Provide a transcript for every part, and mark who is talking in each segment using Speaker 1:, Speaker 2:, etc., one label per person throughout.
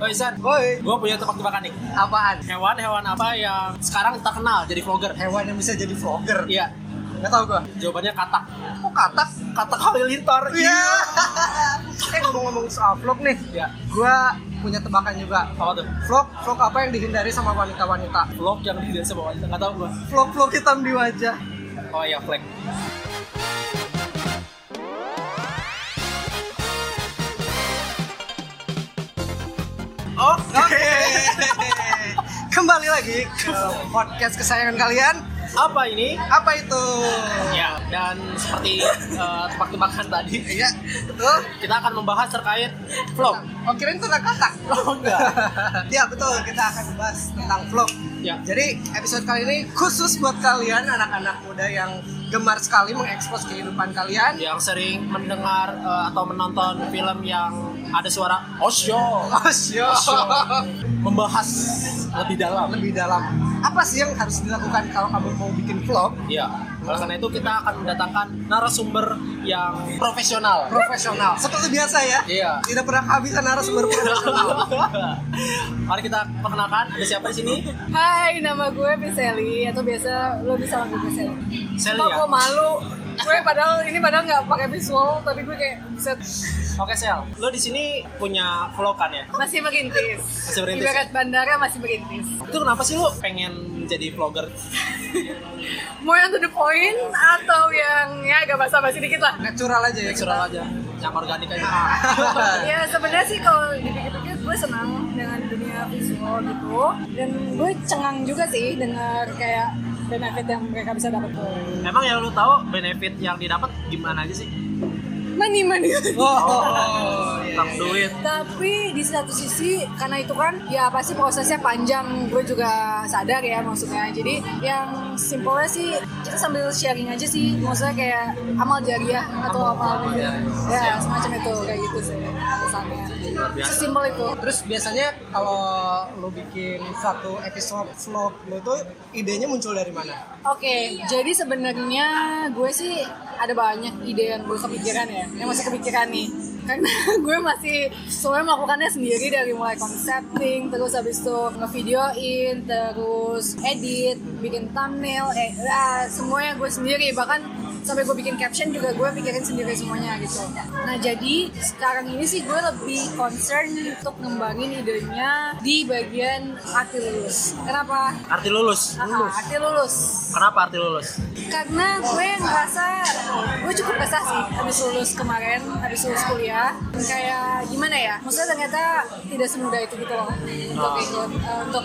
Speaker 1: Oh Isan,
Speaker 2: Woi,
Speaker 1: gue punya tebak-tebakan nih.
Speaker 2: apaan?
Speaker 1: Hewan-hewan apa yang sekarang terkenal jadi vlogger?
Speaker 2: Hewan yang bisa jadi vlogger.
Speaker 1: Iya,
Speaker 2: Gak tau gua.
Speaker 1: jawabannya katak.
Speaker 2: Kok katak?
Speaker 1: Katak halilintar.
Speaker 2: Iya. eh ngomong-ngomong soal vlog nih,
Speaker 1: Iya.
Speaker 2: gua punya tebakan juga.
Speaker 1: Apa tuh?
Speaker 2: Vlog, vlog apa yang dihindari sama wanita-wanita?
Speaker 1: Vlog yang dilihat sama wanita nggak tahu gue.
Speaker 2: Vlog-vlog hitam di wajah.
Speaker 1: Oh iya, flag.
Speaker 2: Oke. Kembali lagi ke podcast kesayangan kalian.
Speaker 1: Apa ini?
Speaker 2: Apa itu?
Speaker 1: Ya, dan seperti eh, tebak-tebakan tadi,
Speaker 2: Iya, betul.
Speaker 1: kita akan membahas terkait vlog.
Speaker 2: Oh, kirain tentang katak.
Speaker 1: Oh enggak.
Speaker 2: ya, betul. Kita akan bahas tentang vlog.
Speaker 1: Ya.
Speaker 2: Jadi episode kali ini khusus buat kalian anak-anak muda yang gemar sekali mengekspos kehidupan kalian.
Speaker 1: yang sering mendengar eh, atau menonton film yang ada suara osyo
Speaker 2: Oh, syo.
Speaker 1: Osyo. membahas lebih dalam
Speaker 2: Lebih dalam. Apa sih yang harus dilakukan kalau kamu mau bikin vlog?
Speaker 1: Iya, oleh karena itu kita akan mendatangkan narasumber yang profesional.
Speaker 2: Profesional. Seperti biasa ya.
Speaker 1: Iya.
Speaker 2: Tidak pernah kehabisan narasumber profesional.
Speaker 1: Mari kita perkenalkan ada siapa di sini?
Speaker 3: Hai, nama gue Piseli atau
Speaker 2: Iya.
Speaker 3: biasa lo bisa panggil gue Piseli.
Speaker 1: Sally
Speaker 3: Kok
Speaker 1: ya.
Speaker 3: gue malu? gue padahal ini padahal nggak pakai visual, tapi gue kayak bisa
Speaker 1: Oke Sel, lo di sini punya vlog kan ya?
Speaker 3: masih merintis.
Speaker 1: Masih merintis.
Speaker 3: Ibarat bandara masih merintis.
Speaker 1: Itu kenapa sih lo pengen jadi vlogger?
Speaker 3: Mau yang to the point atau yang ya agak basa-basi dikit lah.
Speaker 2: Natural aja ya.
Speaker 1: Natural aja, yang organik aja.
Speaker 2: kita.
Speaker 3: Ya sebenarnya sih kalau dipikir-pikir gue senang dengan dunia visual gitu dan gue cengang juga sih dengar kayak benefit yang mereka bisa dapat.
Speaker 1: Emang yang lo tahu benefit yang didapat gimana aja sih?
Speaker 3: Money money.
Speaker 2: oh, iya,
Speaker 1: Tentang
Speaker 2: iya.
Speaker 1: duit.
Speaker 3: Tapi di satu sisi karena itu kan ya pasti prosesnya panjang, gue juga sadar ya maksudnya. Jadi yang simpelnya sih kita sambil sharing aja sih, maksudnya kayak amal jariah atau apa gitu. Ya semacam itu kayak gitu sih alasannya.
Speaker 1: biasa.
Speaker 3: Sesimpel itu.
Speaker 2: Terus biasanya kalau lo bikin satu episode vlog lo itu idenya muncul dari mana?
Speaker 3: Oke, jadi sebenarnya gue sih ada banyak ide yang gue kepikiran ya, yang masih kepikiran nih. Karena gue masih soalnya melakukannya sendiri dari mulai konsepting, terus habis itu ngevideoin, terus edit, bikin thumbnail, eh, ah, semuanya gue sendiri. Bahkan sampai gue bikin caption juga gue pikirin sendiri semuanya gitu. Nah jadi sekarang ini sih gue lebih concern untuk ngembangin idenya di bagian arti lulus. Kenapa?
Speaker 1: Arti lulus.
Speaker 3: Aha, arti lulus
Speaker 1: Kenapa arti lulus?
Speaker 3: karena gue ngerasa gue cukup resah sih habis lulus kemarin habis lulus kuliah Dan kayak gimana ya maksudnya ternyata tidak semudah itu gitu loh untuk ikut eh, untuk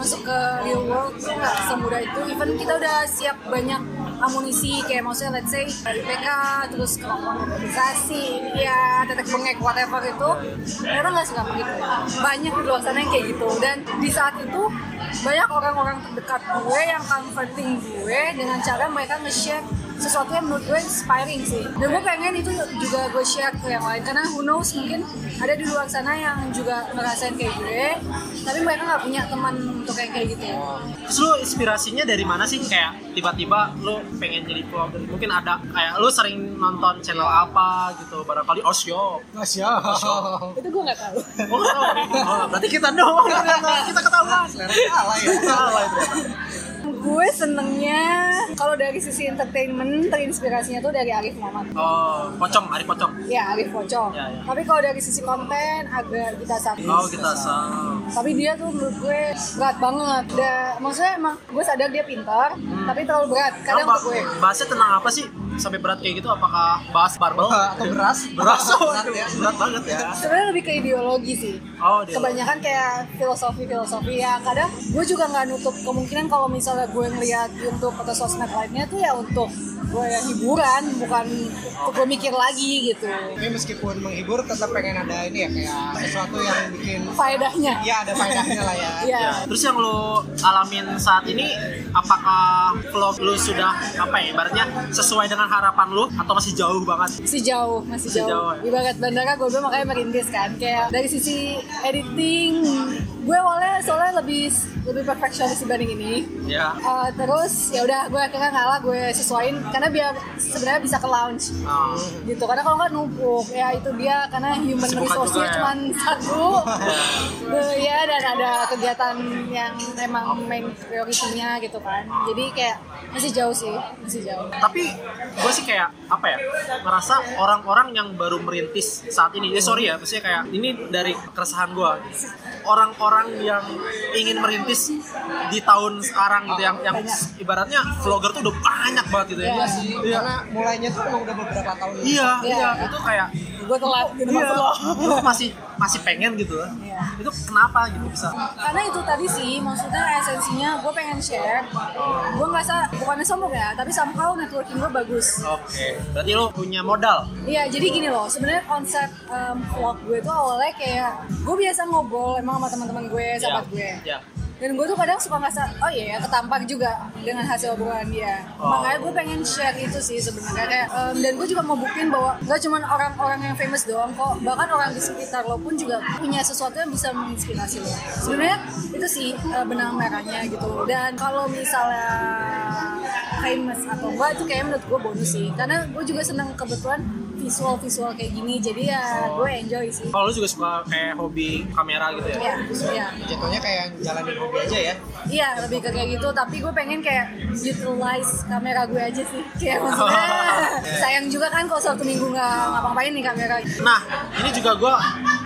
Speaker 3: masuk ke real world tuh nggak semudah itu even kita udah siap banyak amunisi kayak maksudnya let's say IPK terus kemampuan organisasi ya tetek bengek whatever itu ternyata nggak segampang gitu banyak di luar sana yang kayak gitu dan di saat itu banyak orang-orang terdekat gue yang comforting gue dengan cara mereka nge-share sesuatu yang menurut gue inspiring sih dan gue pengen itu juga gue share ke yang lain karena who knows mungkin ada di luar sana yang juga ngerasain kayak gue tapi mereka nggak punya teman untuk yang kayak gitu
Speaker 1: Terus lu inspirasinya dari mana sih? Kayak tiba-tiba lu pengen jadi vlogger. Mungkin ada kayak lu sering nonton channel apa gitu. Barangkali Osyo.
Speaker 2: Masya
Speaker 3: itu gue nggak tahu
Speaker 1: Oh, oh, berarti kita doang. kita ketahuan.
Speaker 2: Selera kalah ya.
Speaker 1: Salah itu.
Speaker 3: gue senengnya kalau dari sisi entertainment terinspirasinya tuh dari Arif Muhammad
Speaker 1: Oh, pocong, Ari pocong.
Speaker 3: ya Arif Pocong
Speaker 1: Ya, ya.
Speaker 3: tapi kalau dari sisi konten agak kita sakit
Speaker 1: Oh, kita sama.
Speaker 3: tapi dia tuh menurut gue berat banget da, maksudnya emang gue sadar dia pintar
Speaker 1: Hmm.
Speaker 3: tapi terlalu berat kadang
Speaker 1: Apa?
Speaker 3: untuk gue
Speaker 1: Bahasnya tenang apa sih? Sampai berat kayak gitu apakah bahas barbel?
Speaker 2: Atau beras?
Speaker 1: Beras. oh,
Speaker 2: Berat
Speaker 1: aduh,
Speaker 2: ya.
Speaker 1: Berat banget ya.
Speaker 3: sebenarnya lebih ke ideologi sih
Speaker 1: Oh, dia.
Speaker 3: kebanyakan kayak filosofi filosofi ya kadang gue juga nggak nutup kemungkinan kalau misalnya gue ngeliat YouTube atau sosmed lainnya tuh ya untuk gue ya hiburan bukan untuk gue mikir lagi gitu
Speaker 2: Tapi meskipun menghibur tetap pengen ada ini ya kayak sesuatu yang bikin
Speaker 3: faedahnya
Speaker 1: Iya,
Speaker 2: ya ada faedahnya lah ya.
Speaker 3: Iya.
Speaker 1: Ya, terus yang lu alamin saat ini apakah vlog lu sudah apa ya ibaratnya sesuai dengan harapan lu atau masih jauh banget?
Speaker 3: masih jauh masih
Speaker 1: Masih
Speaker 3: jauh,
Speaker 1: jauh, ya?
Speaker 3: ibarat bandara gue bilang makanya merintis kan kayak dari sisi editing gue awalnya soalnya lebih lebih perfeksionis dibanding ini
Speaker 1: ya
Speaker 3: Eh, terus ya udah gue akhirnya ngalah gue sesuaiin karena biar sebenarnya bisa ke lounge
Speaker 1: Ah.
Speaker 3: gitu karena kalau nggak numpuk ya itu dia karena human
Speaker 1: Kesibukan
Speaker 3: resource-nya
Speaker 1: juga ya.
Speaker 3: cuma satu Eh, ya dan ada kegiatan yang emang main prioritinya gitu kan jadi kayak masih jauh sih masih jauh
Speaker 1: tapi gue sih kayak apa ya ngerasa orang-orang yang baru merintis saat ini eh, sorry ya maksudnya kayak ini dari keresahan gue orang-orang yang ingin merintis di tahun sekarang gitu yang yang ibaratnya vlogger tuh udah banyak banget gitu ya
Speaker 3: Iya
Speaker 2: sih
Speaker 1: Iya.
Speaker 2: karena mulainya tuh emang udah beberapa tahun lalu.
Speaker 1: iya
Speaker 3: Iya.
Speaker 1: iya itu kayak
Speaker 3: gue telat gitu
Speaker 1: iya
Speaker 3: maksud lo.
Speaker 1: lu masih masih pengen gitu
Speaker 3: Iya.
Speaker 1: itu kenapa gitu bisa
Speaker 3: karena itu tadi sih maksudnya esensinya gue pengen share gue ngerasa bukannya sombong ya tapi somehow networking gue bagus
Speaker 1: oke berarti lu punya modal
Speaker 3: Iya, jadi gini loh. Sebenarnya konsep em, vlog gue tuh awalnya kayak gue biasa ngobrol emang sama teman-teman gue, sahabat gue.
Speaker 1: Iya.
Speaker 3: Dan gue tuh kadang suka ngerasa, oh iya ya, ketampar juga dengan hasil obrolan dia.
Speaker 1: Oh.
Speaker 3: Makanya gue pengen share itu sih sebenarnya. Kayak, em, dan gue juga mau buktiin bahwa gak cuma orang-orang yang famous doang kok. Bahkan orang di sekitar lo pun juga punya sesuatu yang bisa menginspirasi lo. Sebenarnya itu sih eh, benang merahnya gitu. Dan kalau misalnya famous atau enggak itu kayak menurut gue bonus sih karena gue juga seneng kebetulan visual visual kayak gini jadi ya gue enjoy sih
Speaker 1: kalau lu juga suka kayak hobi kamera gitu ya
Speaker 3: Iya, iya,
Speaker 2: jatuhnya kayak jalanin hobi aja ya
Speaker 3: iya lebih ke kayak gitu. Tapi gue pengen kayak utilize kamera gue aja sih. Kayak maksudnya sayang juga kan kalau satu minggu nggak ngapa-ngapain nih kamera.
Speaker 1: Nah, ini juga gue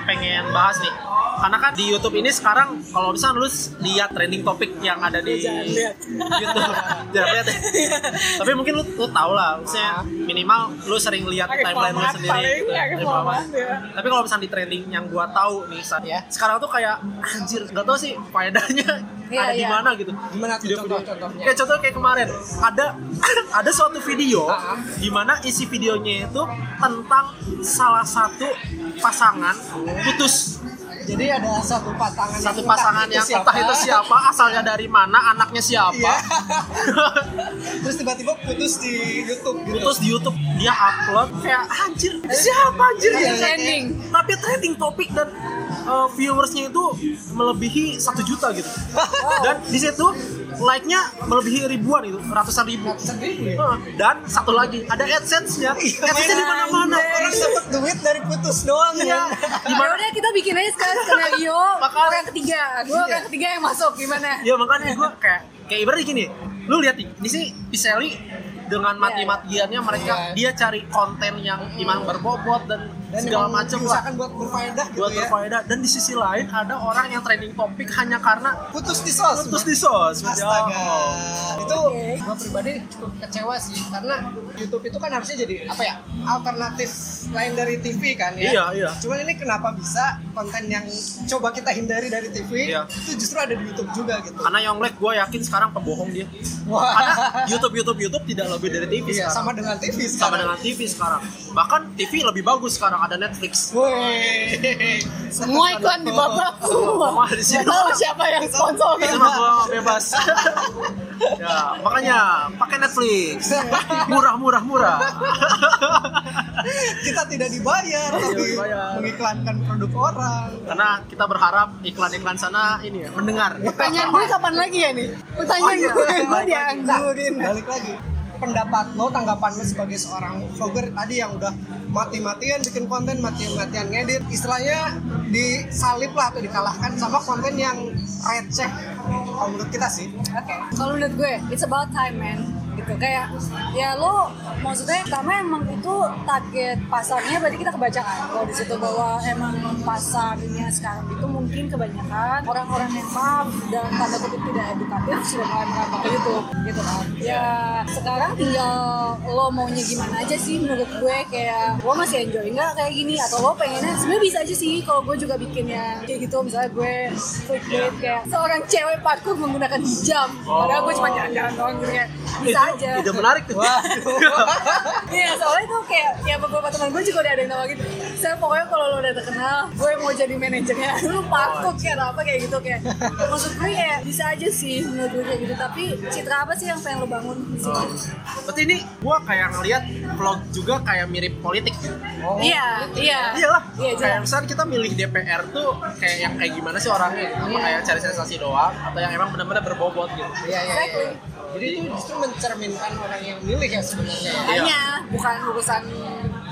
Speaker 1: pengen bahas nih. Karena kan di YouTube ini sekarang kalau bisa lu lihat trending topik yang ada di
Speaker 3: Jangan lihat. Iya.
Speaker 1: YouTube. Jangan lihat. ya. Tapi mungkin lu, lu tau lah, maksudnya minimal lu sering lihat
Speaker 2: Arif
Speaker 1: timeline lu
Speaker 2: Muhammad
Speaker 1: sendiri.
Speaker 2: paling,
Speaker 1: gitu,
Speaker 2: Arif
Speaker 1: Arif Muhammad.
Speaker 2: Muhammad, ya.
Speaker 1: Tapi kalau misalnya di trending yang gue tahu nih saat
Speaker 2: Ya.
Speaker 1: sekarang tuh kayak anjir, gak tau sih faedahnya
Speaker 3: Iya,
Speaker 1: ada di
Speaker 3: iya.
Speaker 1: mana gitu.
Speaker 2: gimana tuh contoh-contohnya
Speaker 1: Kayak contoh kayak kemarin ada ada suatu video
Speaker 2: Ah.
Speaker 1: di mana isi videonya itu tentang salah satu pasangan putus
Speaker 2: jadi ada satu pasangan
Speaker 1: satu
Speaker 2: yang
Speaker 1: pasangan
Speaker 2: entah
Speaker 1: yang entah itu siapa asalnya dari mana anaknya siapa
Speaker 2: Iya. terus tiba-tiba putus di YouTube gitu
Speaker 1: putus di YouTube dia upload kayak anjir siapa anjir
Speaker 2: Iya,
Speaker 1: ya
Speaker 2: iya.
Speaker 3: Trending.
Speaker 1: tapi trending topik dan uh, viewersnya itu melebihi satu juta gitu dan di situ like-nya melebihi ribuan itu ratusan ribu
Speaker 2: ratusan ribu Iya, ya
Speaker 1: Heeh. dan satu lagi ada adsense-nya adsense-nya di mana-mana
Speaker 2: orang dapat duit dari putus doang
Speaker 1: Iya.
Speaker 2: ya
Speaker 3: Ya udah kita bikin aja sekarang skenario
Speaker 1: Makanya.
Speaker 3: orang ketiga. Gue orang ketiga yang masuk gimana?
Speaker 1: ya makanya gue kayak kayak ibarat gini lu lihat nih, di sini Piseli dengan mati-matiannya mereka
Speaker 2: Iya.
Speaker 1: dia cari konten yang iman berbobot dan,
Speaker 2: dan
Speaker 1: segala
Speaker 2: emang
Speaker 1: macam lah
Speaker 2: diusahakan buat berfaedah gitu
Speaker 1: buat
Speaker 2: ya
Speaker 1: berfaedah dan di sisi lain ada orang yang trending topik hanya karena
Speaker 2: putus di sos
Speaker 1: putus di sos
Speaker 2: Astaga. Itu
Speaker 3: Oke.
Speaker 2: gua pribadi cukup kecewa sih karena YouTube itu kan harusnya jadi apa ya? alternatif lain dari TV kan ya.
Speaker 1: Iya, iya.
Speaker 2: Cuman ini kenapa bisa konten yang coba kita hindari dari TV
Speaker 1: Iya.
Speaker 2: itu justru ada di YouTube juga gitu.
Speaker 1: karena Yonglek gue yakin sekarang pembohong dia
Speaker 2: Wah.
Speaker 1: karena YouTube YouTube YouTube tidak lebih dari TV
Speaker 2: Iya,
Speaker 1: sekarang
Speaker 2: sama dengan TV
Speaker 1: sama
Speaker 2: sekarang.
Speaker 1: dengan TV sekarang bahkan TV lebih bagus sekarang ada Netflix
Speaker 2: Woi.
Speaker 3: Semua iklan di babak semua.
Speaker 1: Wah, di sini.
Speaker 3: Gak tahu siapa yang sponsor.
Speaker 1: itu mah gua bebas ya makanya pakai Netflix murah murah murah
Speaker 2: Kita tidak dibayar tapi
Speaker 1: dibayar.
Speaker 2: mengiklankan produk orang.
Speaker 1: karena kita berharap iklan-iklan sana ini ya, mendengar
Speaker 3: Pertanyaan gue kapan lagi ya nih? Pertanyaan
Speaker 2: Iya,
Speaker 3: gue gue
Speaker 2: balik lagi,
Speaker 3: diangkat.
Speaker 2: balik lagi pendapat lo tanggapan lo sebagai seorang vlogger tadi yang udah mati-matian bikin konten mati-matian ngedit istilahnya disalip lah atau dikalahkan sama konten yang receh kalau menurut kita sih
Speaker 3: Oke. Kalau menurut gue, it's about time man gitu kayak ya lo maksudnya pertama emang itu target pasarnya berarti kita kebacakan kalau di situ bahwa emang pasarnya sekarang itu mungkin kebanyakan orang-orang yang maaf dan tanda kutip tidak edukatif sudah mulai merambah ke itu gitu kan ya sekarang tinggal lo maunya gimana aja sih menurut gue kayak lo masih enjoy nggak kayak gini atau lo pengennya sebenarnya bisa aja sih kalau gue juga bikin yang kayak gitu misalnya gue
Speaker 1: Iya.
Speaker 3: clickbait kayak seorang cewek parkur menggunakan jam padahal gue cuma jalan-jalan doang gitu kayak bisa
Speaker 1: Oh. Itu
Speaker 3: aja
Speaker 1: ide menarik tuh
Speaker 2: Waduh.
Speaker 3: Iya, soalnya tuh kayak ya beberapa teman gue juga udah ada yang nawarin saya pokoknya kalau lo udah terkenal gue mau jadi manajernya lu takut kayak apa kayak gitu kayak maksud gue kayak bisa aja sih menurut gue kayak gitu tapi citra apa sih yang pengen lo bangun di situ?
Speaker 1: Oh. Berarti ini gua kayak ngeliat vlog juga kayak mirip politik.
Speaker 2: Oh,
Speaker 3: iya iya
Speaker 1: Iyalah, kayak
Speaker 3: iya jelas
Speaker 1: misalnya kita milih DPR tuh kayak yang kayak gimana sih orangnya? gitu? Apa kayak cari sensasi doang atau yang emang benar-benar berbobot gitu?
Speaker 2: Iya, iya, iya.
Speaker 3: Exactly.
Speaker 2: Jadi itu justru mencerminkan orang yang milih ya sebenarnya. ya.
Speaker 3: hanya bukan urusan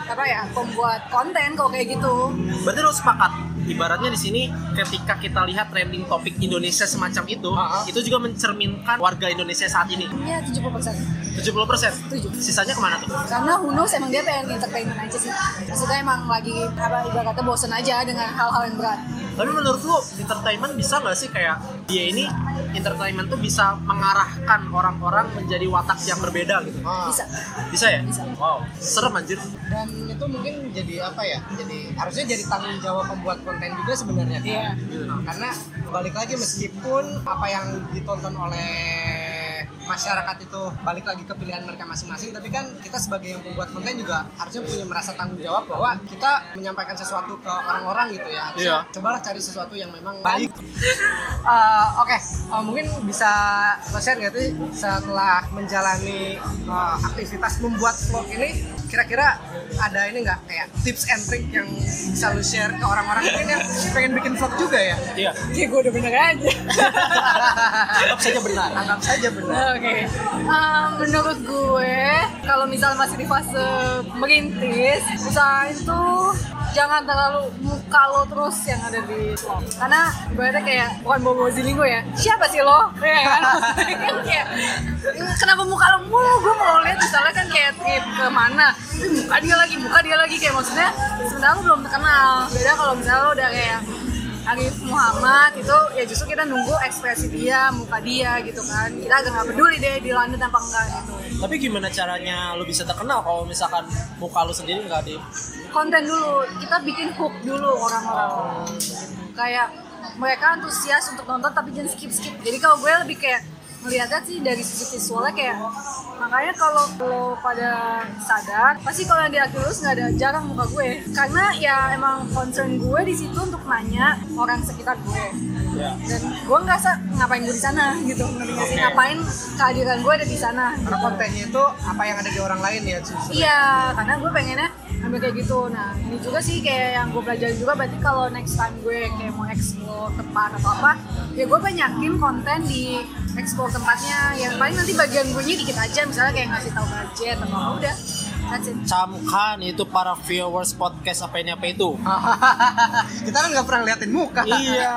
Speaker 3: apa ya pembuat konten kalau kayak gitu
Speaker 1: Berarti lo sepakat ibaratnya di sini ketika kita lihat trending topik Indonesia semacam itu,
Speaker 2: Ah, ah.
Speaker 1: itu juga mencerminkan warga Indonesia saat ini.
Speaker 3: ya 70%
Speaker 1: 70%.
Speaker 3: Setuju.
Speaker 1: Sisanya kemana tuh?
Speaker 3: karena who knows emang dia pengen entertainment aja sih maksudnya emang lagi apa ibaratnya bosen aja dengan hal-hal yang berat
Speaker 1: Tapi menurut lo entertainment bisa nggak sih kayak dia ini entertainment tuh bisa mengarahkan orang-orang menjadi watak yang berbeda gitu?
Speaker 2: Ah,
Speaker 3: bisa
Speaker 1: Bisa ya?
Speaker 3: Bisa.
Speaker 1: Wow, serem anjir.
Speaker 2: Dan itu mungkin jadi apa ya? Jadi harusnya jadi tanggung jawab pembuat konten juga sebenarnya. kan?
Speaker 3: Iya.
Speaker 2: Nah, Karena balik lagi meskipun apa yang ditonton oleh masyarakat itu balik lagi ke pilihan mereka masing-masing tapi kan kita sebagai yang membuat konten juga harusnya punya merasa tanggung jawab bahwa kita menyampaikan sesuatu ke orang-orang gitu ya Harusnya
Speaker 1: Iya.
Speaker 2: cobalah cari sesuatu yang memang baik Eh, Oke, eh, mungkin bisa lo share nggak sih setelah menjalani eh, aktivitas membuat vlog ini, kira-kira ada ini nggak kayak tips and trick yang bisa lo share ke orang-orang mungkin yang pengen bikin vlog juga ya?
Speaker 1: Iya.
Speaker 3: ya gue udah bener aja
Speaker 2: Anggap saja benar. Anggap saja benar.
Speaker 3: Oke, Em, menurut gue kalau misalnya masih di fase merintis, usahain tuh jangan terlalu muka lo terus yang ada di vlog karena ibaratnya kayak bukan bobo zilingo ya siapa sih lo ya kan Maksudnya kan kayak kenapa muka lo mulu gue mau lihat misalnya kan kayak trip kemana Ih, muka dia lagi muka dia lagi kayak maksudnya sebenarnya lo belum terkenal beda kalau misalnya lo udah kayak Arif Muhammad itu ya justru kita nunggu ekspresi dia, muka dia gitu kan. Kita agak nggak peduli deh di London apa enggak gitu.
Speaker 1: Tapi gimana caranya lo bisa terkenal kalau misalkan muka lo sendiri nggak di
Speaker 3: Konten dulu, kita bikin hook dulu orang-orang. Kayak mereka antusias untuk nonton tapi jangan skip-skip. Jadi kalau gue lebih kayak melihatnya sih dari sisi visualnya kayak makanya kalau lo pada sadar pasti kalau yang di Akilus nggak ada jarang muka gue karena ya emang concern gue di situ untuk nanya orang sekitar gue
Speaker 1: Ya.
Speaker 3: dan gue ngerasa ngapain gue di sana gitu ngerti nggak sih?
Speaker 1: Oke.
Speaker 3: ngapain kehadiran gue ada di sana
Speaker 2: Karena kontennya itu apa yang ada di orang lain ya. justru.
Speaker 3: iya karena gue pengennya ambil kayak gitu nah ini juga sih kayak yang gue pelajari juga berarti kalau next time gue kayak mau explore tempat atau apa ya gue banyakin konten di explore tempatnya yang paling nanti bagian gue nya dikit aja misalnya kayak ngasih tahu budget atau apa udah that's it
Speaker 1: Camkan itu para viewers podcast apa ini apa itu.
Speaker 2: Kita kan nggak pernah liatin muka.
Speaker 1: iya,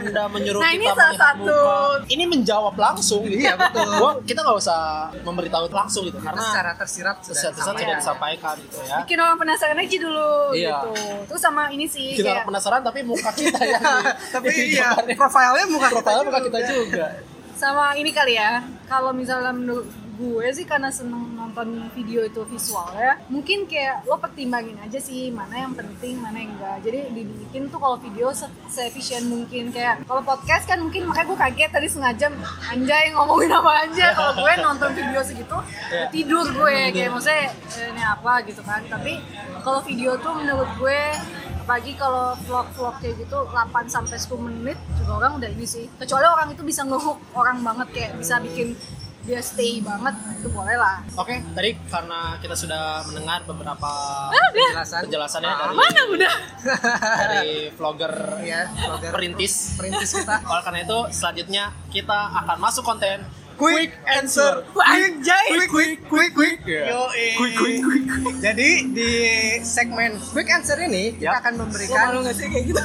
Speaker 1: Anda menyuruh
Speaker 3: Nah,
Speaker 1: kita
Speaker 3: ini salah
Speaker 1: melihat
Speaker 3: satu.
Speaker 1: muka. Ini menjawab langsung gitu.
Speaker 2: Iya, betul.
Speaker 1: Gua- kita nggak usah memberitahu langsung gitu
Speaker 2: Karena
Speaker 1: karena
Speaker 2: secara tersirat sudah
Speaker 1: pesan
Speaker 2: disampaikan.
Speaker 1: sudah disampaikan gitu ya.
Speaker 3: bikin orang penasaran aja dulu
Speaker 1: Iya.
Speaker 3: gitu terus sama ini sih
Speaker 1: Kita
Speaker 3: kayak
Speaker 1: orang penasaran tapi muka kita ya.
Speaker 2: Tapi iya, profilnya muka kita
Speaker 1: Profilnya muka
Speaker 2: juga.
Speaker 3: Iya.
Speaker 1: kita juga.
Speaker 3: sama ini kali ya kalau misalnya menurut gue sih karena seneng nonton video itu visualnya mungkin kayak lo pertimbangin aja sih mana yang penting mana yang enggak jadi dibikin tuh kalau video se- se-efisien mungkin kayak kalau podcast kan mungkin makanya gue kaget tadi sengaja anjay ngomongin apa aja kalau gue nonton video segitu
Speaker 1: Iya.
Speaker 3: tidur gue kayak maksudnya eh, ini apa gitu kan tapi kalau video tuh menurut gue apalagi kalau vlog-vlog kayak gitu 8 sampai 10 menit juga orang udah ini sih kecuali orang itu bisa ngehook orang banget kayak bisa bikin dia stay banget itu boleh lah
Speaker 1: Oke, tadi karena kita sudah mendengar beberapa
Speaker 2: Penjelasan.
Speaker 1: penjelasannya dari
Speaker 3: Ah, mana udah
Speaker 1: dari vlogger
Speaker 2: Iya, vlogger.
Speaker 1: perintis.
Speaker 2: Perintis kita.
Speaker 1: Oleh karena itu, selanjutnya kita akan masuk konten
Speaker 2: quick answer quick quick quick quick quick
Speaker 1: Yeah.
Speaker 2: Yoi.
Speaker 1: Quick, quick, quick,
Speaker 2: jadi di segmen quick answer ini kita
Speaker 1: Yap.
Speaker 2: akan memberikan
Speaker 3: kayak gitu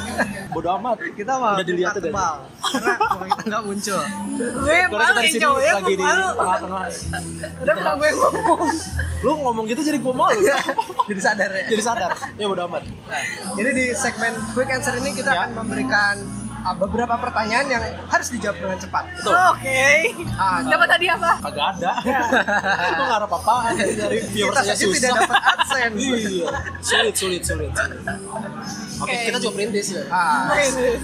Speaker 1: Bodoh amat.
Speaker 2: kita mau
Speaker 1: Udah dilihat
Speaker 2: kita
Speaker 1: udah.
Speaker 2: tebal karena kalau kita nggak muncul
Speaker 3: gue
Speaker 1: Karena kita
Speaker 3: malu ya,
Speaker 1: di sini
Speaker 2: ya,
Speaker 3: cowoknya
Speaker 1: lagi di
Speaker 3: malu
Speaker 1: tengah-tengah.
Speaker 3: udah pernah gue ngomong
Speaker 1: Lu ngomong gitu jadi gua malu.
Speaker 2: Iya. jadi sadar ya
Speaker 1: jadi sadar. Ya bodoh amat.
Speaker 2: jadi di segmen quick answer ini kita
Speaker 1: Yap.
Speaker 2: akan memberikan uh, beberapa pertanyaan yang harus dijawab dengan cepat
Speaker 1: Betul.
Speaker 3: oke
Speaker 2: Ah,
Speaker 3: dapat tadi apa
Speaker 1: Kagak ada. Lu ngarep apaan dari viewers
Speaker 2: Ya. kita
Speaker 1: aja
Speaker 2: saja tidak
Speaker 1: susah.
Speaker 2: dapat adsense
Speaker 1: Iya. Sulit, sulit, sulit. Oke,
Speaker 3: Oke.
Speaker 1: kita juga perintis ya.
Speaker 2: ah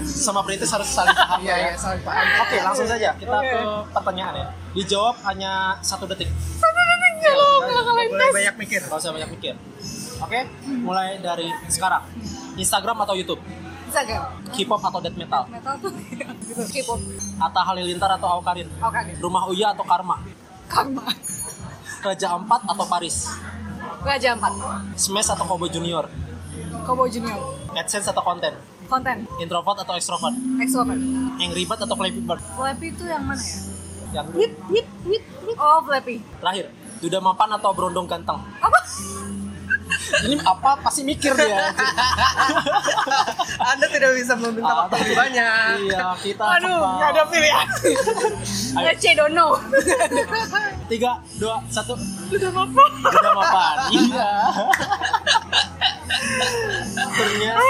Speaker 1: Sama perintis harus saling paham
Speaker 2: iya
Speaker 1: ya.
Speaker 2: iya saling paham
Speaker 1: Oke, langsung saja kita
Speaker 3: Oke.
Speaker 1: ke pertanyaan ya. Dijawab hanya satu detik.
Speaker 3: satu detik ya lo kalau kalian
Speaker 2: Nggak boleh
Speaker 3: tes
Speaker 2: banyak mikir
Speaker 1: Gak usah banyak mikir. Oke, mulai dari sekarang. Instagram atau YouTube?
Speaker 3: Instagram
Speaker 1: K-pop atau death metal?
Speaker 3: metal tuh gitu K-pop
Speaker 1: Atta Halilintar atau Awkarin?
Speaker 3: oke
Speaker 1: Rumah Uya atau Karma?
Speaker 3: karma
Speaker 1: Raja Ampat atau Paris?
Speaker 3: Raja Ampat
Speaker 1: Smash atau Combo Junior?
Speaker 3: Kobo Junior
Speaker 1: AdSense atau konten?
Speaker 3: konten
Speaker 1: Introvert atau extrovert?
Speaker 3: extrovert
Speaker 1: Angry Bird atau Flappy Bird?
Speaker 3: Flappy itu yang mana ya
Speaker 1: Yang
Speaker 3: wit wit wit wit oh Flappy
Speaker 1: terakhir, Duda Mapan atau Brondong Ganteng?
Speaker 3: apa
Speaker 1: Ini apa pasti mikir dia.
Speaker 2: Anda tidak bisa meminta waktu lebih banyak.
Speaker 1: Iya, kita
Speaker 3: Aduh,
Speaker 1: kebal.
Speaker 2: Ah, Nggak ada pilihan.
Speaker 1: Ayo.
Speaker 3: Let's say don't know
Speaker 1: Tiga, dua, satu.
Speaker 3: udah apa
Speaker 1: Duda Mapan. Iya. Ternyata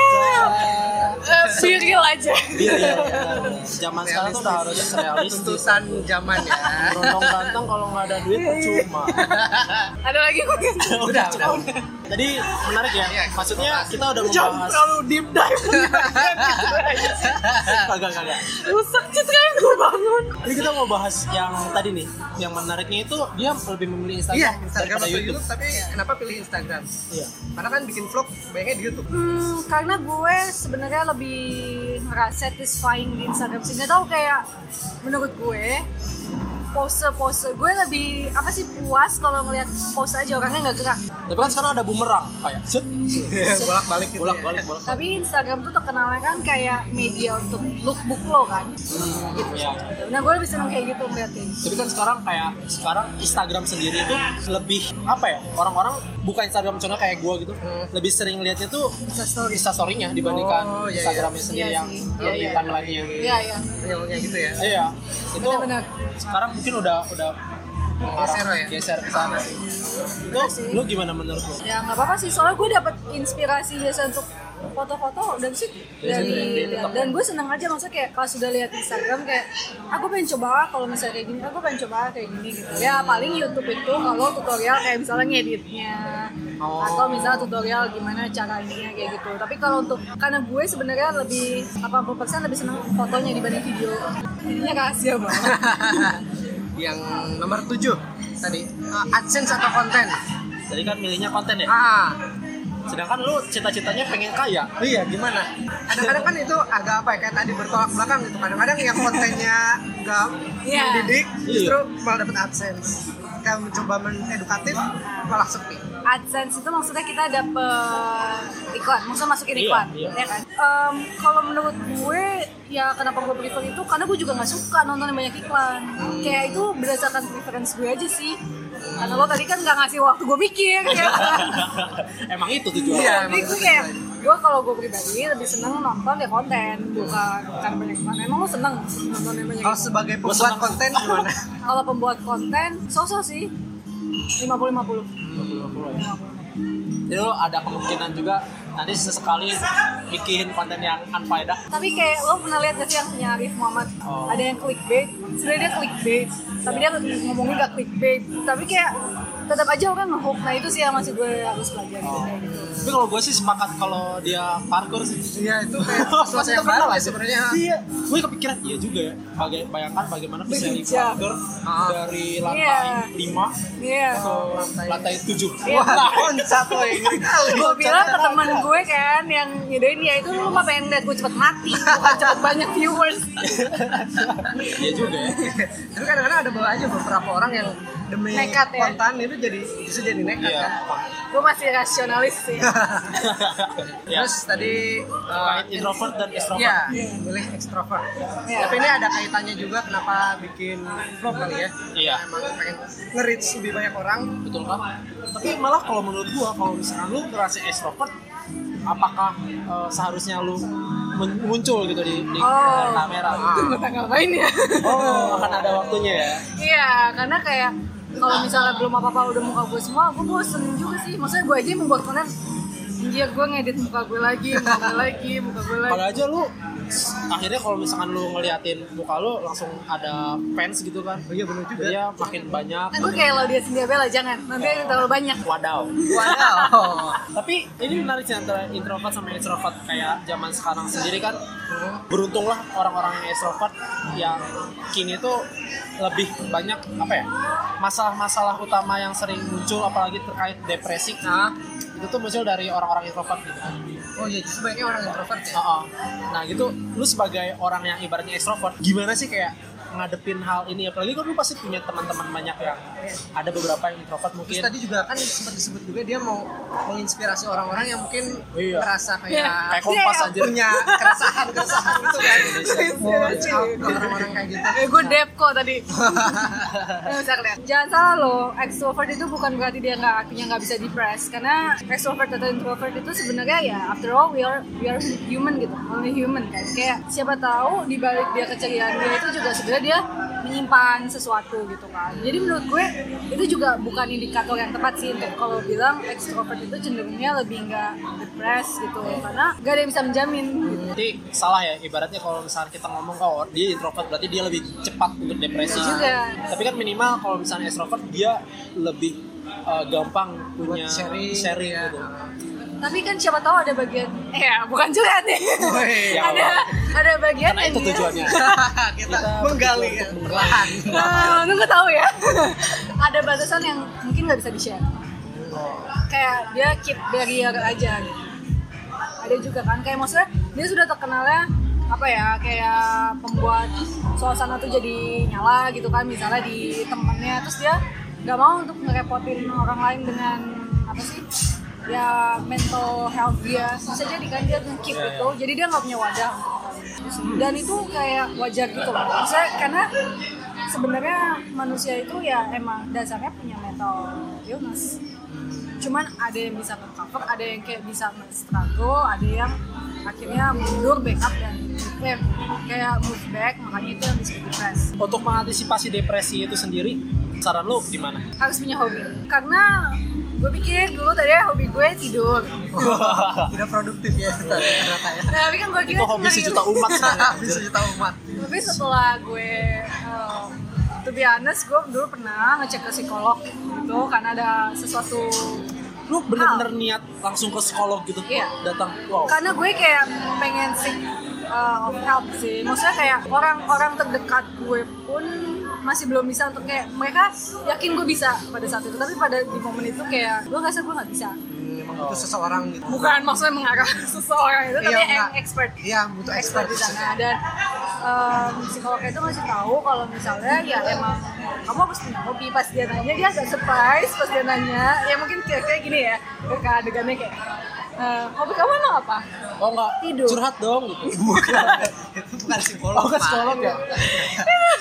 Speaker 3: Serial aja
Speaker 1: Iya, iya, iya. Zaman sekarang tuh udah harus realistis.
Speaker 2: Tuntutan zaman ya.
Speaker 1: Berondong ganteng kalau nggak ada
Speaker 3: Iya,
Speaker 1: duit percuma.
Speaker 3: ada lagi kok
Speaker 2: Udah, udah.
Speaker 1: Jadi menarik ya.
Speaker 2: Iya,
Speaker 1: Maksudnya
Speaker 2: Bapak.
Speaker 1: kita udah membahas
Speaker 3: terlalu deep dive
Speaker 1: kagak kagak.
Speaker 3: rusak citra yang gue bangun
Speaker 1: Jadi kita mau bahas yang tadi nih. Yang menariknya itu dia lebih memilih Instagram
Speaker 2: Iya, Instagram
Speaker 1: daripada
Speaker 2: atau
Speaker 1: YouTube.
Speaker 2: YouTube, tapi kenapa pilih Instagram?
Speaker 1: Iya.
Speaker 2: Karena kan bikin vlog banyak di YouTube.
Speaker 3: hmm, karena gue sebenarnya lebih ngerasa satisfying di Instagram sih nggak tahu kayak menurut gue pose-pose gue lebih apa sih puas kalau ngelihat pose aja orangnya nggak gerak
Speaker 1: Tapi kan sekarang ada bumerang kayak set
Speaker 2: Bolak-balik gitu.
Speaker 1: bolak
Speaker 2: ya.
Speaker 1: balik bolak.
Speaker 3: tapi Instagram tuh terkenalnya kan kayak media untuk lookbook lo kan gitu
Speaker 1: Iya.
Speaker 3: nah gue lebih seneng kayak gitu ngeliatin
Speaker 1: Tapi kan sekarang kayak sekarang Instagram sendiri itu lebih apa ya orang-orang buka Instagram channel kayak gua gitu lebih sering liatnya tuh
Speaker 3: Insta stories
Speaker 1: instastorynya dibandingkan
Speaker 2: Oh, iya, iya.
Speaker 1: Instagramnya sendiri
Speaker 3: Hmm. Iya
Speaker 1: yang lebih
Speaker 3: sih. Iya, iya.
Speaker 1: timelinenya. gitu.
Speaker 3: iya iya
Speaker 2: Realnya gitu ya.
Speaker 1: Iya, itu
Speaker 3: Benar-benar.
Speaker 1: sekarang mungkin udah udah
Speaker 2: Geser ya?
Speaker 1: geser ke sana sih. Itu
Speaker 3: Iya sih.
Speaker 1: lu gimana menurut lu?
Speaker 3: ya nggak apa-apa sih soalnya gue dapet inspirasi biasa untuk foto-foto dan sih dari
Speaker 1: tetap.
Speaker 3: dan gue seneng aja maksudnya kayak kalau sudah lihat Instagram kayak aku pengen coba kalau misalnya kayak gini aku pengen coba kayak gini gitu ya paling YouTube itu kalau tutorial kayak misalnya ngeditnya atau misalnya tutorial gimana cara ininya kayak gitu tapi kalau untuk karena gue sebenarnya lebih 80% lebih seneng fotonya dibanding video jadinya rahasia banget
Speaker 2: Yang nomor 7 tadi eh, AdSense atau konten.
Speaker 1: Jadi kan milihnya konten ya.
Speaker 2: Ah,
Speaker 1: Sedangkan lu cita-citanya pengen kaya.
Speaker 2: iya gimana? Kadang-kadang kan itu agak apa ya kayak tadi bertolak belakang gitu. Kadang-kadang yang kontennya nggak
Speaker 3: Iya.
Speaker 2: mendidik
Speaker 1: Iya.
Speaker 2: justru malah dapat AdSense. Kayak mencoba mengedukatif malah sepi.
Speaker 3: AdSense itu maksudnya kita dapet iklan, maksudnya masukin
Speaker 1: Iya,
Speaker 3: iklan,
Speaker 1: iya.
Speaker 3: ya kan? Em, kalau menurut gue, ya kenapa gue prefer itu? Karena gue juga nggak suka nonton yang banyak iklan. Kayak itu berdasarkan preference gue aja sih. Karena lo tadi kan nggak ngasih waktu gue mikir, ya kan?
Speaker 1: Emang itu tujuan.
Speaker 2: Iya,
Speaker 3: Tapi
Speaker 2: emang
Speaker 3: gue
Speaker 2: itu
Speaker 3: kayak,
Speaker 2: tujuan.
Speaker 3: gue kalau gue pribadi lebih seneng nonton ya konten, bukan bukan banyak iklan. Emang lo seneng nonton yang banyak
Speaker 2: Kalau
Speaker 3: iklan?
Speaker 2: sebagai
Speaker 1: Gua
Speaker 2: pembuat
Speaker 1: senang.
Speaker 2: konten gimana?
Speaker 3: Kalau pembuat konten, sosok sih 50-50. Iya.
Speaker 1: Jadi lu ada kemungkinan juga nanti sesekali bikin konten yang unfaedah.
Speaker 3: Tapi kayak lo pernah lihat gak sih yang punya Arif Muhammad?
Speaker 1: Oh.
Speaker 3: Ada yang clickbait, sebenarnya dia clickbait, tapi dia ngomongnya gak clickbait. Tapi kayak tetap aja orang ngehook. Nah itu sih yang masih gue harus pelajari. kayak gitu.
Speaker 1: Tapi kalau gue sih sepakat kalau dia parkour sih.
Speaker 2: Iya itu kayak sesuatu yang baru ya sebenarnya.
Speaker 1: Iya, gue kepikiran iya juga ya. Baga- bayangkan bagaimana bisa
Speaker 3: Iya.
Speaker 1: parkour
Speaker 2: Ah.
Speaker 1: dari
Speaker 3: Iya.
Speaker 1: lantai 5
Speaker 3: Iya.
Speaker 1: ke
Speaker 2: Oh.
Speaker 1: lantai 7.
Speaker 3: Iya.
Speaker 2: Wah, loncat loh ini kali.
Speaker 3: Gue bilang ke teman gue kan yang nyedain ya itu lu mah pengen lihat gue cepet mati, bukan cepet banyak viewers.
Speaker 1: Iya juga ya.
Speaker 2: Tapi kadang-kadang ada bawa aja beberapa orang yang demi
Speaker 3: Nekat ya.
Speaker 2: konten itu jadi bisa jadi nekat
Speaker 1: Iya.
Speaker 2: kan.
Speaker 3: Gue masih rasionalis sih.
Speaker 1: Ya.
Speaker 2: Terus tadi uh,
Speaker 1: Terkait Eh, introvert dan extrovert.
Speaker 2: Iya, milih ekstrovert.
Speaker 3: Iya.
Speaker 2: Tapi ini ada kaitannya juga kenapa bikin vlog kali ya?
Speaker 1: Iya.
Speaker 2: Emang pengen nge-reach lebih banyak orang.
Speaker 1: betul kan tapi malah kalau menurut gua kalau misalnya lu ngerasa extrovert apakah eh, seharusnya lu men- muncul gitu di, di
Speaker 3: Oh.
Speaker 1: kamera
Speaker 3: Gue tak ngapain ya.
Speaker 1: oh akan ada waktunya ya
Speaker 3: Iya, karena kayak kalau misalnya belum apa-apa udah muka gue semua, gue bosen juga sih. Maksudnya gue aja yang membuat konten, dia gue ngedit muka gue lagi, muka gue lagi, muka gue lagi.
Speaker 1: kalau aja lu s- akhirnya kalau misalkan lu ngeliatin muka lu langsung ada fans gitu kan
Speaker 2: Oh iya benar juga.
Speaker 1: dia makin banyak
Speaker 3: Kan gue kayak lo dia sendiri bela jangan, nanti ada terlalu banyak.
Speaker 1: wadaw
Speaker 2: Wow.
Speaker 1: tapi ini menarik sih antara introvert sama extrovert kayak zaman sekarang sendiri kan beruntunglah orang-orang yang extrovert yang kini itu lebih banyak apa ya masalah-masalah utama yang sering muncul apalagi terkait depresi
Speaker 2: Nah,
Speaker 1: itu itu tuh muncul dari orang-orang introvert gitu kan.
Speaker 2: oh iya justru banyaknya orang introvert ya
Speaker 1: Oh, oh. Nah gitu, lu sebagai orang yang ibaratnya ekstrovert, gimana sih kayak ngadepin hal ini? Apalagi kan lu pasti punya teman-teman banyak yang ada beberapa yang introvert mungkin.
Speaker 2: Terus tadi juga kan sempat disebut juga dia mau menginspirasi orang-orang yang mungkin
Speaker 1: Iya.
Speaker 2: merasa kayak
Speaker 1: Kayak kompas aja.
Speaker 2: punya keresahan keresahan gitu kan.
Speaker 1: Iya.
Speaker 2: Mau reach out ke orang-orang kayak gitu.
Speaker 3: Eh, gue dep kok tadi. Eh, bisa kelihatan. Jangan salah loh, extrovert itu bukan berarti dia nggak artinya nggak bisa depressed karena extrovert atau introvert itu sebenarnya ya after all we are we are human gitu, only human kan. Kayak siapa tahu di balik dia keceriaan dia itu juga sebenarnya dia menyimpan sesuatu gitu kan. Jadi menurut gue itu juga bukan indikator yang tepat sih untuk kalau bilang extrovert itu cenderungnya lebih nggak depressed gitu karena nggak ada yang bisa menjamin gitu.
Speaker 1: Jadi salah ya, ibaratnya kalau misalnya kita ngomong kalau dia introvert berarti dia lebih cepat untuk depresi.
Speaker 3: Iya juga.
Speaker 1: Tapi kan minimal kalau misalnya ekstrovert dia lebih eh, gampang punya
Speaker 2: sharing, ya.
Speaker 3: iya.
Speaker 1: gitu.
Speaker 3: Tapi kan siapa tahu ada bagian eh ya, bukan curhat nih.
Speaker 2: Woi,
Speaker 1: ya
Speaker 3: ada ada bagian
Speaker 1: Karena Nah,
Speaker 3: yang
Speaker 1: itu
Speaker 3: dia-
Speaker 1: tujuannya.
Speaker 2: kita menggali ya. perlahan.
Speaker 3: Nah, lu nggak tahu ya. ada batasan yang mungkin nggak bisa di-share. Kayak dia keep barrier aja gitu. Ada juga kan kayak maksudnya dia sudah terkenalnya apa ya kayak pembuat suasana tuh jadi nyala gitu kan misalnya di temennya terus dia nggak mau untuk ngerepotin orang lain dengan apa sih ya mental health dia bisa jadi kan dia nge-keep
Speaker 1: Iya,
Speaker 3: itu jadi dia nggak punya wadah untuk dan itu kayak wajar gitu loh maksudnya karena sebenarnya manusia itu ya emang dasarnya punya mental illness cuman ada yang bisa cover ada yang kayak bisa struggle ada yang akhirnya mundur backup dan eh, kayak move back makanya itu yang disebut depressed
Speaker 1: Untuk mengantisipasi depresi itu sendiri, saran lu gimana?
Speaker 3: harus punya hobi karena gue pikir dulu tadi ya, hobi gue tidur
Speaker 1: Oh.
Speaker 2: Tidak produktif ya kita ternyata ya.
Speaker 3: nah, tapi kan gue kira
Speaker 1: itu hobi
Speaker 3: cuma-
Speaker 1: sejuta umat sebenarnya.
Speaker 2: Habis
Speaker 3: Iya.
Speaker 2: juta umat.
Speaker 3: tapi setelah gue um, to be honest gue dulu pernah ngecek ke psikolog gitu karena ada sesuatu
Speaker 1: Lu bener-bener niat langsung ke psikolog gitu
Speaker 3: Iya.
Speaker 1: datang. Wow.
Speaker 3: karena gue kayak pengen sih uh, of help sih maksudnya kayak orang-orang terdekat gue pun masih belum bisa untuk kayak mereka yakin gue bisa pada saat itu tapi pada di momen itu kayak gue ngerasa gue nggak bisa
Speaker 2: Memang butuh seseorang gitu.
Speaker 3: bukan maksudnya mengarah seseorang itu tapi
Speaker 2: Iya,
Speaker 3: yang
Speaker 2: enggak.
Speaker 3: expert
Speaker 2: Iya, butuh expert ya.
Speaker 3: expert di sana dan em, psikolognya itu ngasih tahu kalau misalnya ya emang kamu harus punya hobi pas dia nanya dia agak surprise pas dia nanya ya mungkin kira-kira gini ya ke adegannya kayak eh, hobi kamu emang apa
Speaker 1: Oh enggak,
Speaker 3: Tidur.
Speaker 1: curhat dong
Speaker 3: Iya.
Speaker 1: gitu.
Speaker 2: Bukan. Itu bukan psikolog.
Speaker 1: Oh, bukan
Speaker 2: Pak.
Speaker 1: psikolog ya?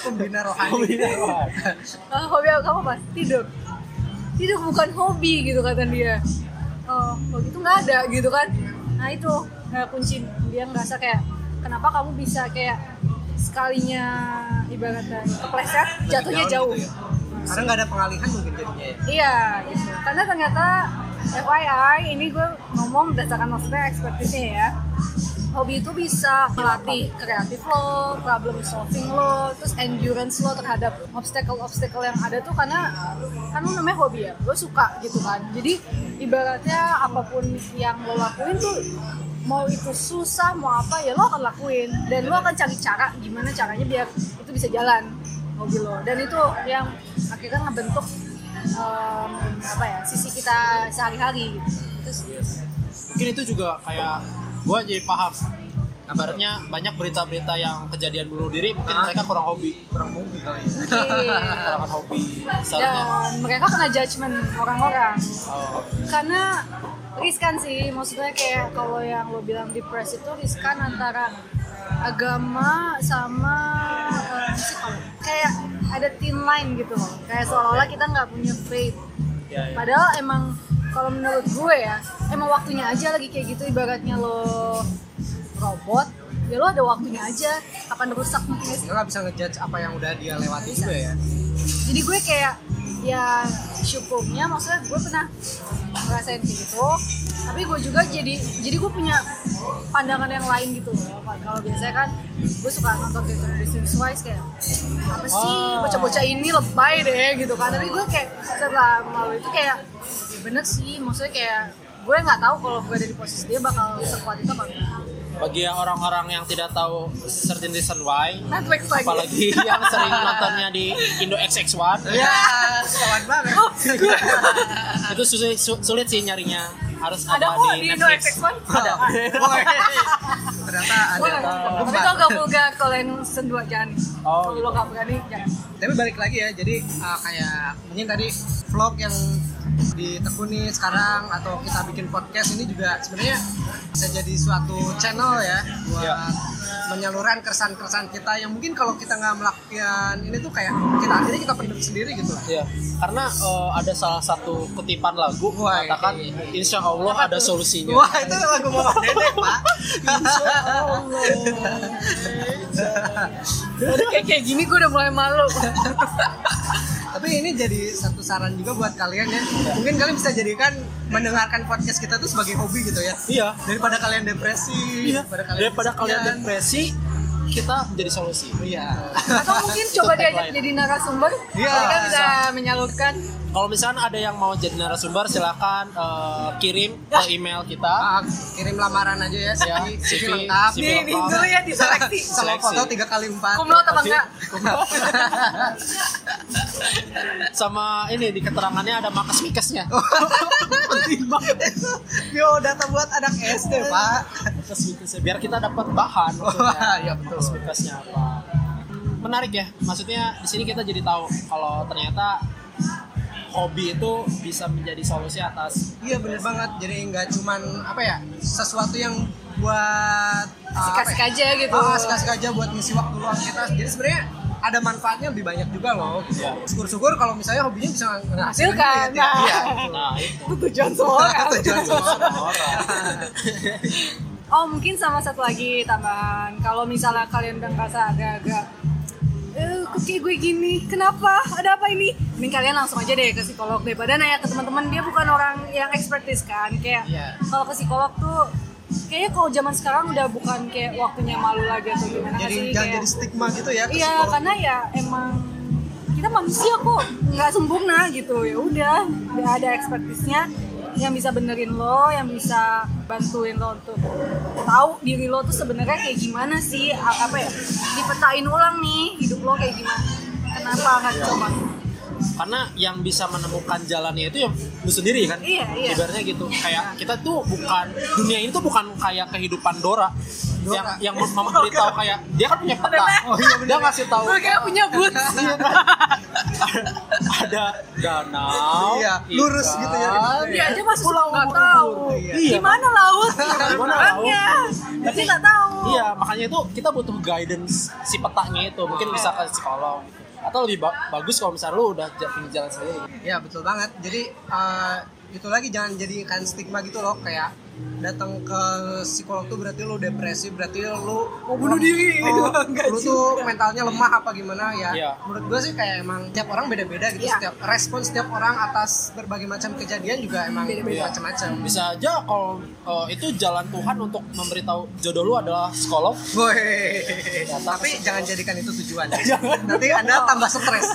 Speaker 2: Pembina rohani.
Speaker 1: Hobinya apa?
Speaker 3: Eh, hobi aku kamu apa tidur tidur bukan hobi gitu kata dia oh kalau gitu nggak ada gitu kan nah itu nah, kunci dia ngerasa kayak kenapa kamu bisa kayak sekalinya ibaratnya kepleset jatuhnya jauh
Speaker 2: Karena nggak ada pengalihan mungkin jadinya ya.
Speaker 3: Iya, gitu. Karena ternyata FYI ini gue ngomong berdasarkan maksudnya ekspertisnya ya. Hobi itu bisa melatih kreatif lo, problem solving lo, terus endurance lo terhadap obstacle-obstacle yang ada tuh karena kan lo namanya hobi ya, lo suka gitu kan. Jadi ibaratnya apapun yang lo lakuin tuh mau itu susah mau apa ya lo akan lakuin dan lo akan cari cara gimana caranya biar itu bisa jalan hobi lo dan itu yang akhirnya ngebentuk em, apa ya sisi kita sehari-hari gitu. Terus
Speaker 1: Mungkin itu juga kayak gua jadi paham. Kabarnya banyak berita-berita yang kejadian bunuh diri mungkin
Speaker 2: Ah.
Speaker 1: mereka kurang hobi,
Speaker 2: Kurang mungkin kali ya.
Speaker 3: oke.
Speaker 1: kurang hobi misalnya.
Speaker 3: dan mereka kena judgement orang-orang
Speaker 1: Oh.
Speaker 3: karena riskan sih maksudnya kayak kalau yang lo bilang depresi itu riskan antara agama sama eh, psikolog kayak ada thin line gitu loh kayak seolah-olah kita nggak punya faith
Speaker 1: Ya, ya.
Speaker 3: Padahal emang kalau menurut gue ya, emang waktunya aja lagi kayak gitu ibaratnya lo robot, ya lo ada waktunya aja kapan rusak
Speaker 2: Dia
Speaker 3: mungkin. ya
Speaker 2: nggak bisa ngejudge apa yang udah dia lewati
Speaker 3: Nggak bisa.
Speaker 2: juga ya.
Speaker 3: Jadi gue kayak ya syukurnya maksudnya gue pernah ngerasain kayak gitu tapi gue juga jadi jadi gue punya pandangan yang lain gitu loh kalau biasanya kan gue suka nonton gitu business wise kayak apa sih
Speaker 1: Oh.
Speaker 3: bocah-bocah ini lebay deh gitu kan tapi gue kayak setelah melalui itu kayak ya bener sih maksudnya kayak gue nggak tahu kalau gue ada di posisi dia bakal sekuat itu apa enggak
Speaker 1: Bagi yang orang-orang yang tidak tahu certain reason why,
Speaker 3: Netflix lagi
Speaker 1: apalagi yang sering nontonnya di Indo XX1,
Speaker 3: Iya.
Speaker 2: Ya, kawan Iya, banget.
Speaker 1: itu sulit, su- sulit sih nyarinya harus
Speaker 3: Ada
Speaker 1: apa
Speaker 3: kok
Speaker 1: di
Speaker 3: di Indo
Speaker 1: Netflix?
Speaker 3: FX1 ada.
Speaker 2: Woy, ternyata ada iya.
Speaker 3: Boleh. Tapi
Speaker 2: penggemar.
Speaker 3: kalau nggak vulgar kalau yang sendua jangan.
Speaker 1: Oh,
Speaker 3: Kalau lo nggak berani jangan.
Speaker 2: tapi balik lagi ya jadi uh, kayak mungkin tadi vlog yang ditekuni sekarang atau kita bikin podcast ini juga sebenarnya bisa jadi suatu channel ya buat
Speaker 1: Iya.
Speaker 2: menyalurkan keresahan-keresahan kita yang mungkin kalau kita nggak melakukan ini tuh kayak kita akhirnya kita pendam sendiri gitu
Speaker 1: Iya, karena eh, ada salah satu kutipan lagu
Speaker 2: Wah,
Speaker 1: mengatakan
Speaker 3: iya,
Speaker 1: Insya Allah ada solusinya.
Speaker 2: wah itu lagu mama dedek pak
Speaker 3: Udah kayak kayak gini gue udah mulai malu.
Speaker 2: tapi ini jadi satu saran juga buat kalian ya mungkin kalian bisa jadikan mendengarkan podcast kita tuh sebagai hobi gitu ya
Speaker 1: Iya,
Speaker 2: daripada kalian depresi
Speaker 1: iya. Daripada kalian
Speaker 2: kesepian.
Speaker 1: depresi, kita menjadi solusi.
Speaker 2: Iya.
Speaker 3: Atau mungkin coba
Speaker 1: Itu
Speaker 3: diajak
Speaker 1: tagline.
Speaker 3: jadi narasumber.
Speaker 2: Iya,
Speaker 3: Mereka bisa
Speaker 2: bisa.
Speaker 3: menyalurkan.
Speaker 1: Kalau misalnya ada yang mau jadi narasumber, silakan eh, kirim ke email kita.
Speaker 2: Ah, kirim lamaran aja ya, CV,
Speaker 3: Iya.
Speaker 1: Ya,
Speaker 2: CV,
Speaker 1: CV
Speaker 2: lengkap.
Speaker 1: CV.
Speaker 3: Di ini dulu ya diseleksi.
Speaker 2: Sama
Speaker 1: Seleksi.
Speaker 2: foto tiga kali empat.
Speaker 3: Kumlot apa enggak?
Speaker 1: Sama ini di keterangannya ada markas mikesnya.
Speaker 2: Oh.
Speaker 1: Penting banget.
Speaker 2: Bio data buat anak SD pak.
Speaker 1: Markas mikesnya biar kita dapat bahan. maksudnya.
Speaker 2: Wah, iya betul.
Speaker 1: Markas mikesnya apa? Menarik ya. Maksudnya di sini kita jadi tahu kalau ternyata hobi itu bisa menjadi solusi atas
Speaker 2: Iya bener banget. Jadi nggak cuman apa ya sesuatu yang buat uh, apa
Speaker 3: Kasih
Speaker 2: ya?
Speaker 3: aja gitu.
Speaker 2: Ah, asik-asik aja buat ngisi waktu luang kita. Jadi sebenarnya ada manfaatnya lebih banyak juga loh. gitu.
Speaker 1: Iya.
Speaker 2: Syukur-syukur kalau misalnya hobinya bisa
Speaker 3: Hasil
Speaker 2: menghasilkan
Speaker 3: kan.
Speaker 2: duit ya.
Speaker 3: Nah.
Speaker 2: Iya.
Speaker 1: nah itu
Speaker 3: Itu tujuan Kan semua orang.
Speaker 2: Tujuan semua orang.
Speaker 3: Oh mungkin sama satu lagi tambahan. Kalau misalnya kalian udah ngerasa agak-agak eh kok kayak gue gini, kenapa? Ada apa ini? Mending kalian langsung aja deh ke psikolog daripada nanya ke teman-teman dia bukan orang yang expertise kan. Kayak
Speaker 2: Iya.
Speaker 3: kalau ke psikolog tuh kayaknya kalau zaman sekarang udah bukan kayak waktunya malu lagi atau gimana nggak
Speaker 2: Jadi
Speaker 3: sih?
Speaker 2: jangan
Speaker 3: Kayak-
Speaker 2: jadi stigma gitu ya. ke
Speaker 3: Iya,
Speaker 2: psikolog.
Speaker 3: karena ya emang kita manusia kok nggak sempurna gitu ya udah nggak ada ekspertisnya yang bisa benerin lo, yang bisa bantuin lo untuk tahu diri lo tuh sebenarnya kayak gimana sih a- apa ya dipetain ulang nih hidup lo kayak gimana kenapa nggak dicoba
Speaker 1: karena yang bisa menemukan jalannya itu ya lu sendiri kan
Speaker 3: Iya, iya.
Speaker 1: ibaratnya gitu kayak kita tuh bukan dunia ini tuh bukan kayak kehidupan Dora,
Speaker 2: Dora.
Speaker 1: yang yang mem- memberitahu kayak dia kan punya peta
Speaker 2: Oh, iya, bener.
Speaker 1: dia ngasih tahu
Speaker 3: gue kayak punya boots
Speaker 1: ada danau
Speaker 2: Iya, lurus
Speaker 1: ikan,
Speaker 2: gitu ya.
Speaker 3: dia aja masuk pulau nggak
Speaker 2: kubur,
Speaker 3: tahu
Speaker 2: iya.
Speaker 1: Iya.
Speaker 3: gimana laut
Speaker 1: Gimana
Speaker 3: orangnya tapi nggak tahu
Speaker 1: iya makanya itu kita butuh guidance si petanya itu mungkin bisa ke psikolog atau lebih ba- bagus kalau misalnya lu udah j- punya jalan sendiri
Speaker 2: Ya betul banget. Jadi eh, itu lagi jangan jadikan stigma gitu loh kayak datang ke psikolog tuh berarti lu depresi, berarti lu
Speaker 3: mau bunuh diri
Speaker 2: oh, lu tuh mentalnya lemah apa gimana ya.
Speaker 1: Iya.
Speaker 2: Menurut gue sih kayak emang tiap orang beda-beda gitu.
Speaker 3: Iya.
Speaker 2: Setiap respon setiap orang atas berbagai macam kejadian juga emang Iya.
Speaker 3: Beda-beda.
Speaker 2: macam-macam.
Speaker 1: bisa aja kalau eh, itu jalan Tuhan untuk memberitahu jodoh lu adalah psikolog
Speaker 2: Woi, tapi jangan jadikan itu tujuan. Nanti anda tambah stres.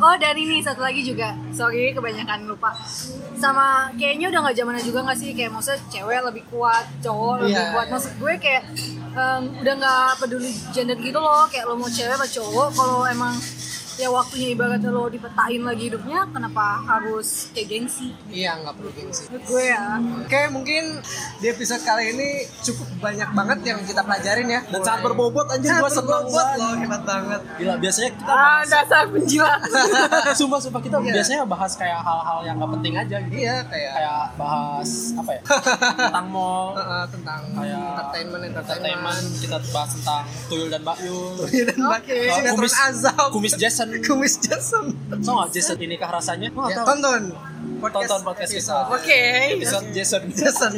Speaker 3: Oh dan ini satu lagi juga, sorry kebanyakan lupa. Sama kayaknya udah nggak zamannya juga nggak sih kayak maksudnya cewek lebih kuat, cowok lebih
Speaker 2: Iya,
Speaker 3: kuat.
Speaker 2: iya.
Speaker 3: Maksud gue kayak em, udah nggak peduli gender gitu loh, kayak lo mau cewek atau cowok, kalau emang ya waktunya ibaratnya lo dipetain lagi hidupnya, kenapa harus kayak gengsi?
Speaker 2: iya nggak perlu gengsi.
Speaker 3: Menurut gue ya.
Speaker 2: Oke, mungkin di episode kali ini cukup banyak banget yang kita pelajarin ya.
Speaker 1: Dan sangat berbobot, anjir,
Speaker 2: Sangat
Speaker 1: gua seneng
Speaker 2: berbobot
Speaker 1: banget.
Speaker 2: loh, hebat banget.
Speaker 1: Gila, biasanya kita
Speaker 3: Ah
Speaker 1: bahas,
Speaker 3: dasar penjilat.
Speaker 1: sumpah sumpah kita
Speaker 2: Iya.
Speaker 1: biasanya bahas kayak hal-hal yang gak penting aja gitu.
Speaker 2: Iya, kayak
Speaker 1: Kayak bahas apa ya? tentang mall,
Speaker 2: eh, eh, tentang
Speaker 1: kayak
Speaker 2: entertainment,
Speaker 1: entertainment,
Speaker 2: entertainment. Iya,
Speaker 1: kita bahas tentang tuyul dan bakyul.
Speaker 2: Dan bagi
Speaker 1: Soal
Speaker 2: sinetron azab.
Speaker 1: kumis Jason.
Speaker 2: Kumis Jason.
Speaker 1: So nggak Jason ini kah rasanya? Gua nggak
Speaker 2: Ya,
Speaker 1: tahu.
Speaker 2: tonton.
Speaker 1: Tonton podcast kita.
Speaker 2: episode.
Speaker 3: Oke.
Speaker 1: Episode Jason.
Speaker 2: Jason.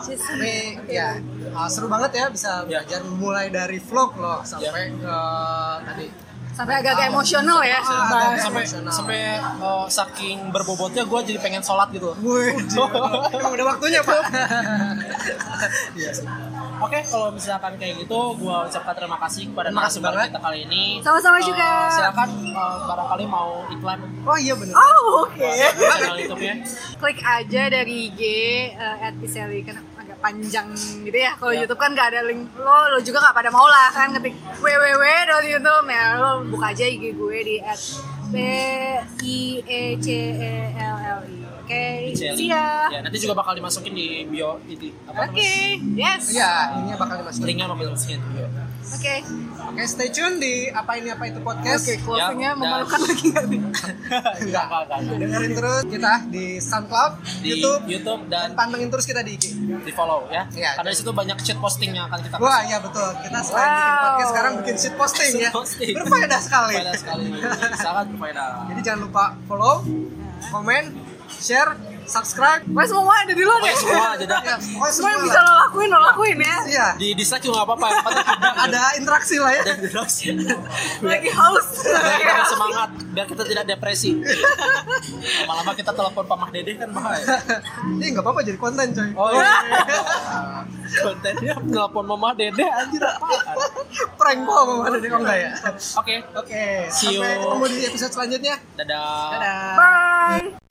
Speaker 2: Tapi ya eh, seru banget ya bisa
Speaker 1: Iya.
Speaker 2: belajar mulai dari vlog loh sampai
Speaker 1: Ya.
Speaker 2: ke tadi.
Speaker 3: Sampai agak-agak emosional ya.
Speaker 2: agak-agak.
Speaker 3: Bahas.
Speaker 1: Eh, sampai
Speaker 2: Emosional.
Speaker 1: sampai eh, saking berbobotnya gue jadi pengen sholat gitu. Oke,
Speaker 2: Wih, emang udah waktunya pak. Iya sih.
Speaker 1: kalau misalkan kayak gitu, gue ucapkan terima kasih kepada
Speaker 2: Terima kasih
Speaker 1: narasumber
Speaker 2: banget.
Speaker 1: kita kali ini.
Speaker 3: Sama-sama
Speaker 1: Eh,
Speaker 3: juga.
Speaker 1: Silakan eh, barangkali mau iklan
Speaker 2: Oh iya benar.
Speaker 3: Oh oke.
Speaker 2: Iya.
Speaker 1: channel YouTube-nya.
Speaker 3: klik aja dari IG eh, at Iseli kan agak panjang gitu ya kalau
Speaker 1: Ya.
Speaker 3: YouTube kan nggak ada link lo lo juga nggak pada mau lah kan ketik www YouTube ya lo buka aja IG gue di at B I E C E L L I. Oke,
Speaker 1: Jelly.
Speaker 3: see ya.
Speaker 1: Ya, nanti juga bakal dimasukin di bio itu apa
Speaker 3: Oke, yes.
Speaker 2: Iya,
Speaker 1: Ya.
Speaker 2: ini bakal dimasukin.
Speaker 1: Linknya bakal dimasukin di bio.
Speaker 3: Oke.
Speaker 2: Oke, stay tune di apa ini apa itu podcast.
Speaker 3: Oke,
Speaker 1: Ya,
Speaker 3: closingnya memalukan
Speaker 1: dan-
Speaker 3: lagi nggak nih?
Speaker 1: Enggak apa-apa.
Speaker 2: Dengerin terus kita di SoundCloud,
Speaker 1: Di
Speaker 2: YouTube,
Speaker 1: YouTube, dan
Speaker 2: pantengin terus kita di IG.
Speaker 1: di follow ya.
Speaker 2: Iya.
Speaker 1: Karena di situ banyak shit posting yang akan kita
Speaker 2: Wah, iya betul. Kita selain bikin
Speaker 3: Wow.
Speaker 2: podcast sekarang bikin shit posting ya.
Speaker 1: Shit posting.
Speaker 2: Berfaedah sekali.
Speaker 1: Berfaedah sekali. Sangat berfaedah.
Speaker 2: Jadi jangan lupa follow, komen, share, subscribe.
Speaker 3: Pokoknya semua ada di lo deh.
Speaker 1: Pokoknya semua aja dah.
Speaker 2: Ya, pokoknya
Speaker 3: Semua yang
Speaker 2: semua
Speaker 3: bisa
Speaker 2: lah.
Speaker 3: lo lakuin, lo lakuin ya.
Speaker 2: Iya.
Speaker 1: Di dislike juga nggak apa-apa. yang penting ada-
Speaker 2: Ada interaksi lah ya.
Speaker 1: ada interaksi.
Speaker 3: Lagi haus.
Speaker 1: Biar
Speaker 3: Lagi
Speaker 2: Iya.
Speaker 1: kita
Speaker 3: haus.
Speaker 1: semangat, biar kita tidak depresi. Lama-lama kita telepon Pak Mah Dede kan bahaya.
Speaker 2: Ini nggak apa-apa jadi konten coy.
Speaker 1: Oh iya. Kontennya telepon Mama Dede anjir apaan.
Speaker 2: Prank kok mau ada di kok nggak ya.
Speaker 1: Oke,
Speaker 2: Oke,
Speaker 1: See you.
Speaker 2: sampai ketemu di episode selanjutnya.
Speaker 1: dadah.
Speaker 2: Dadah.
Speaker 3: Bye.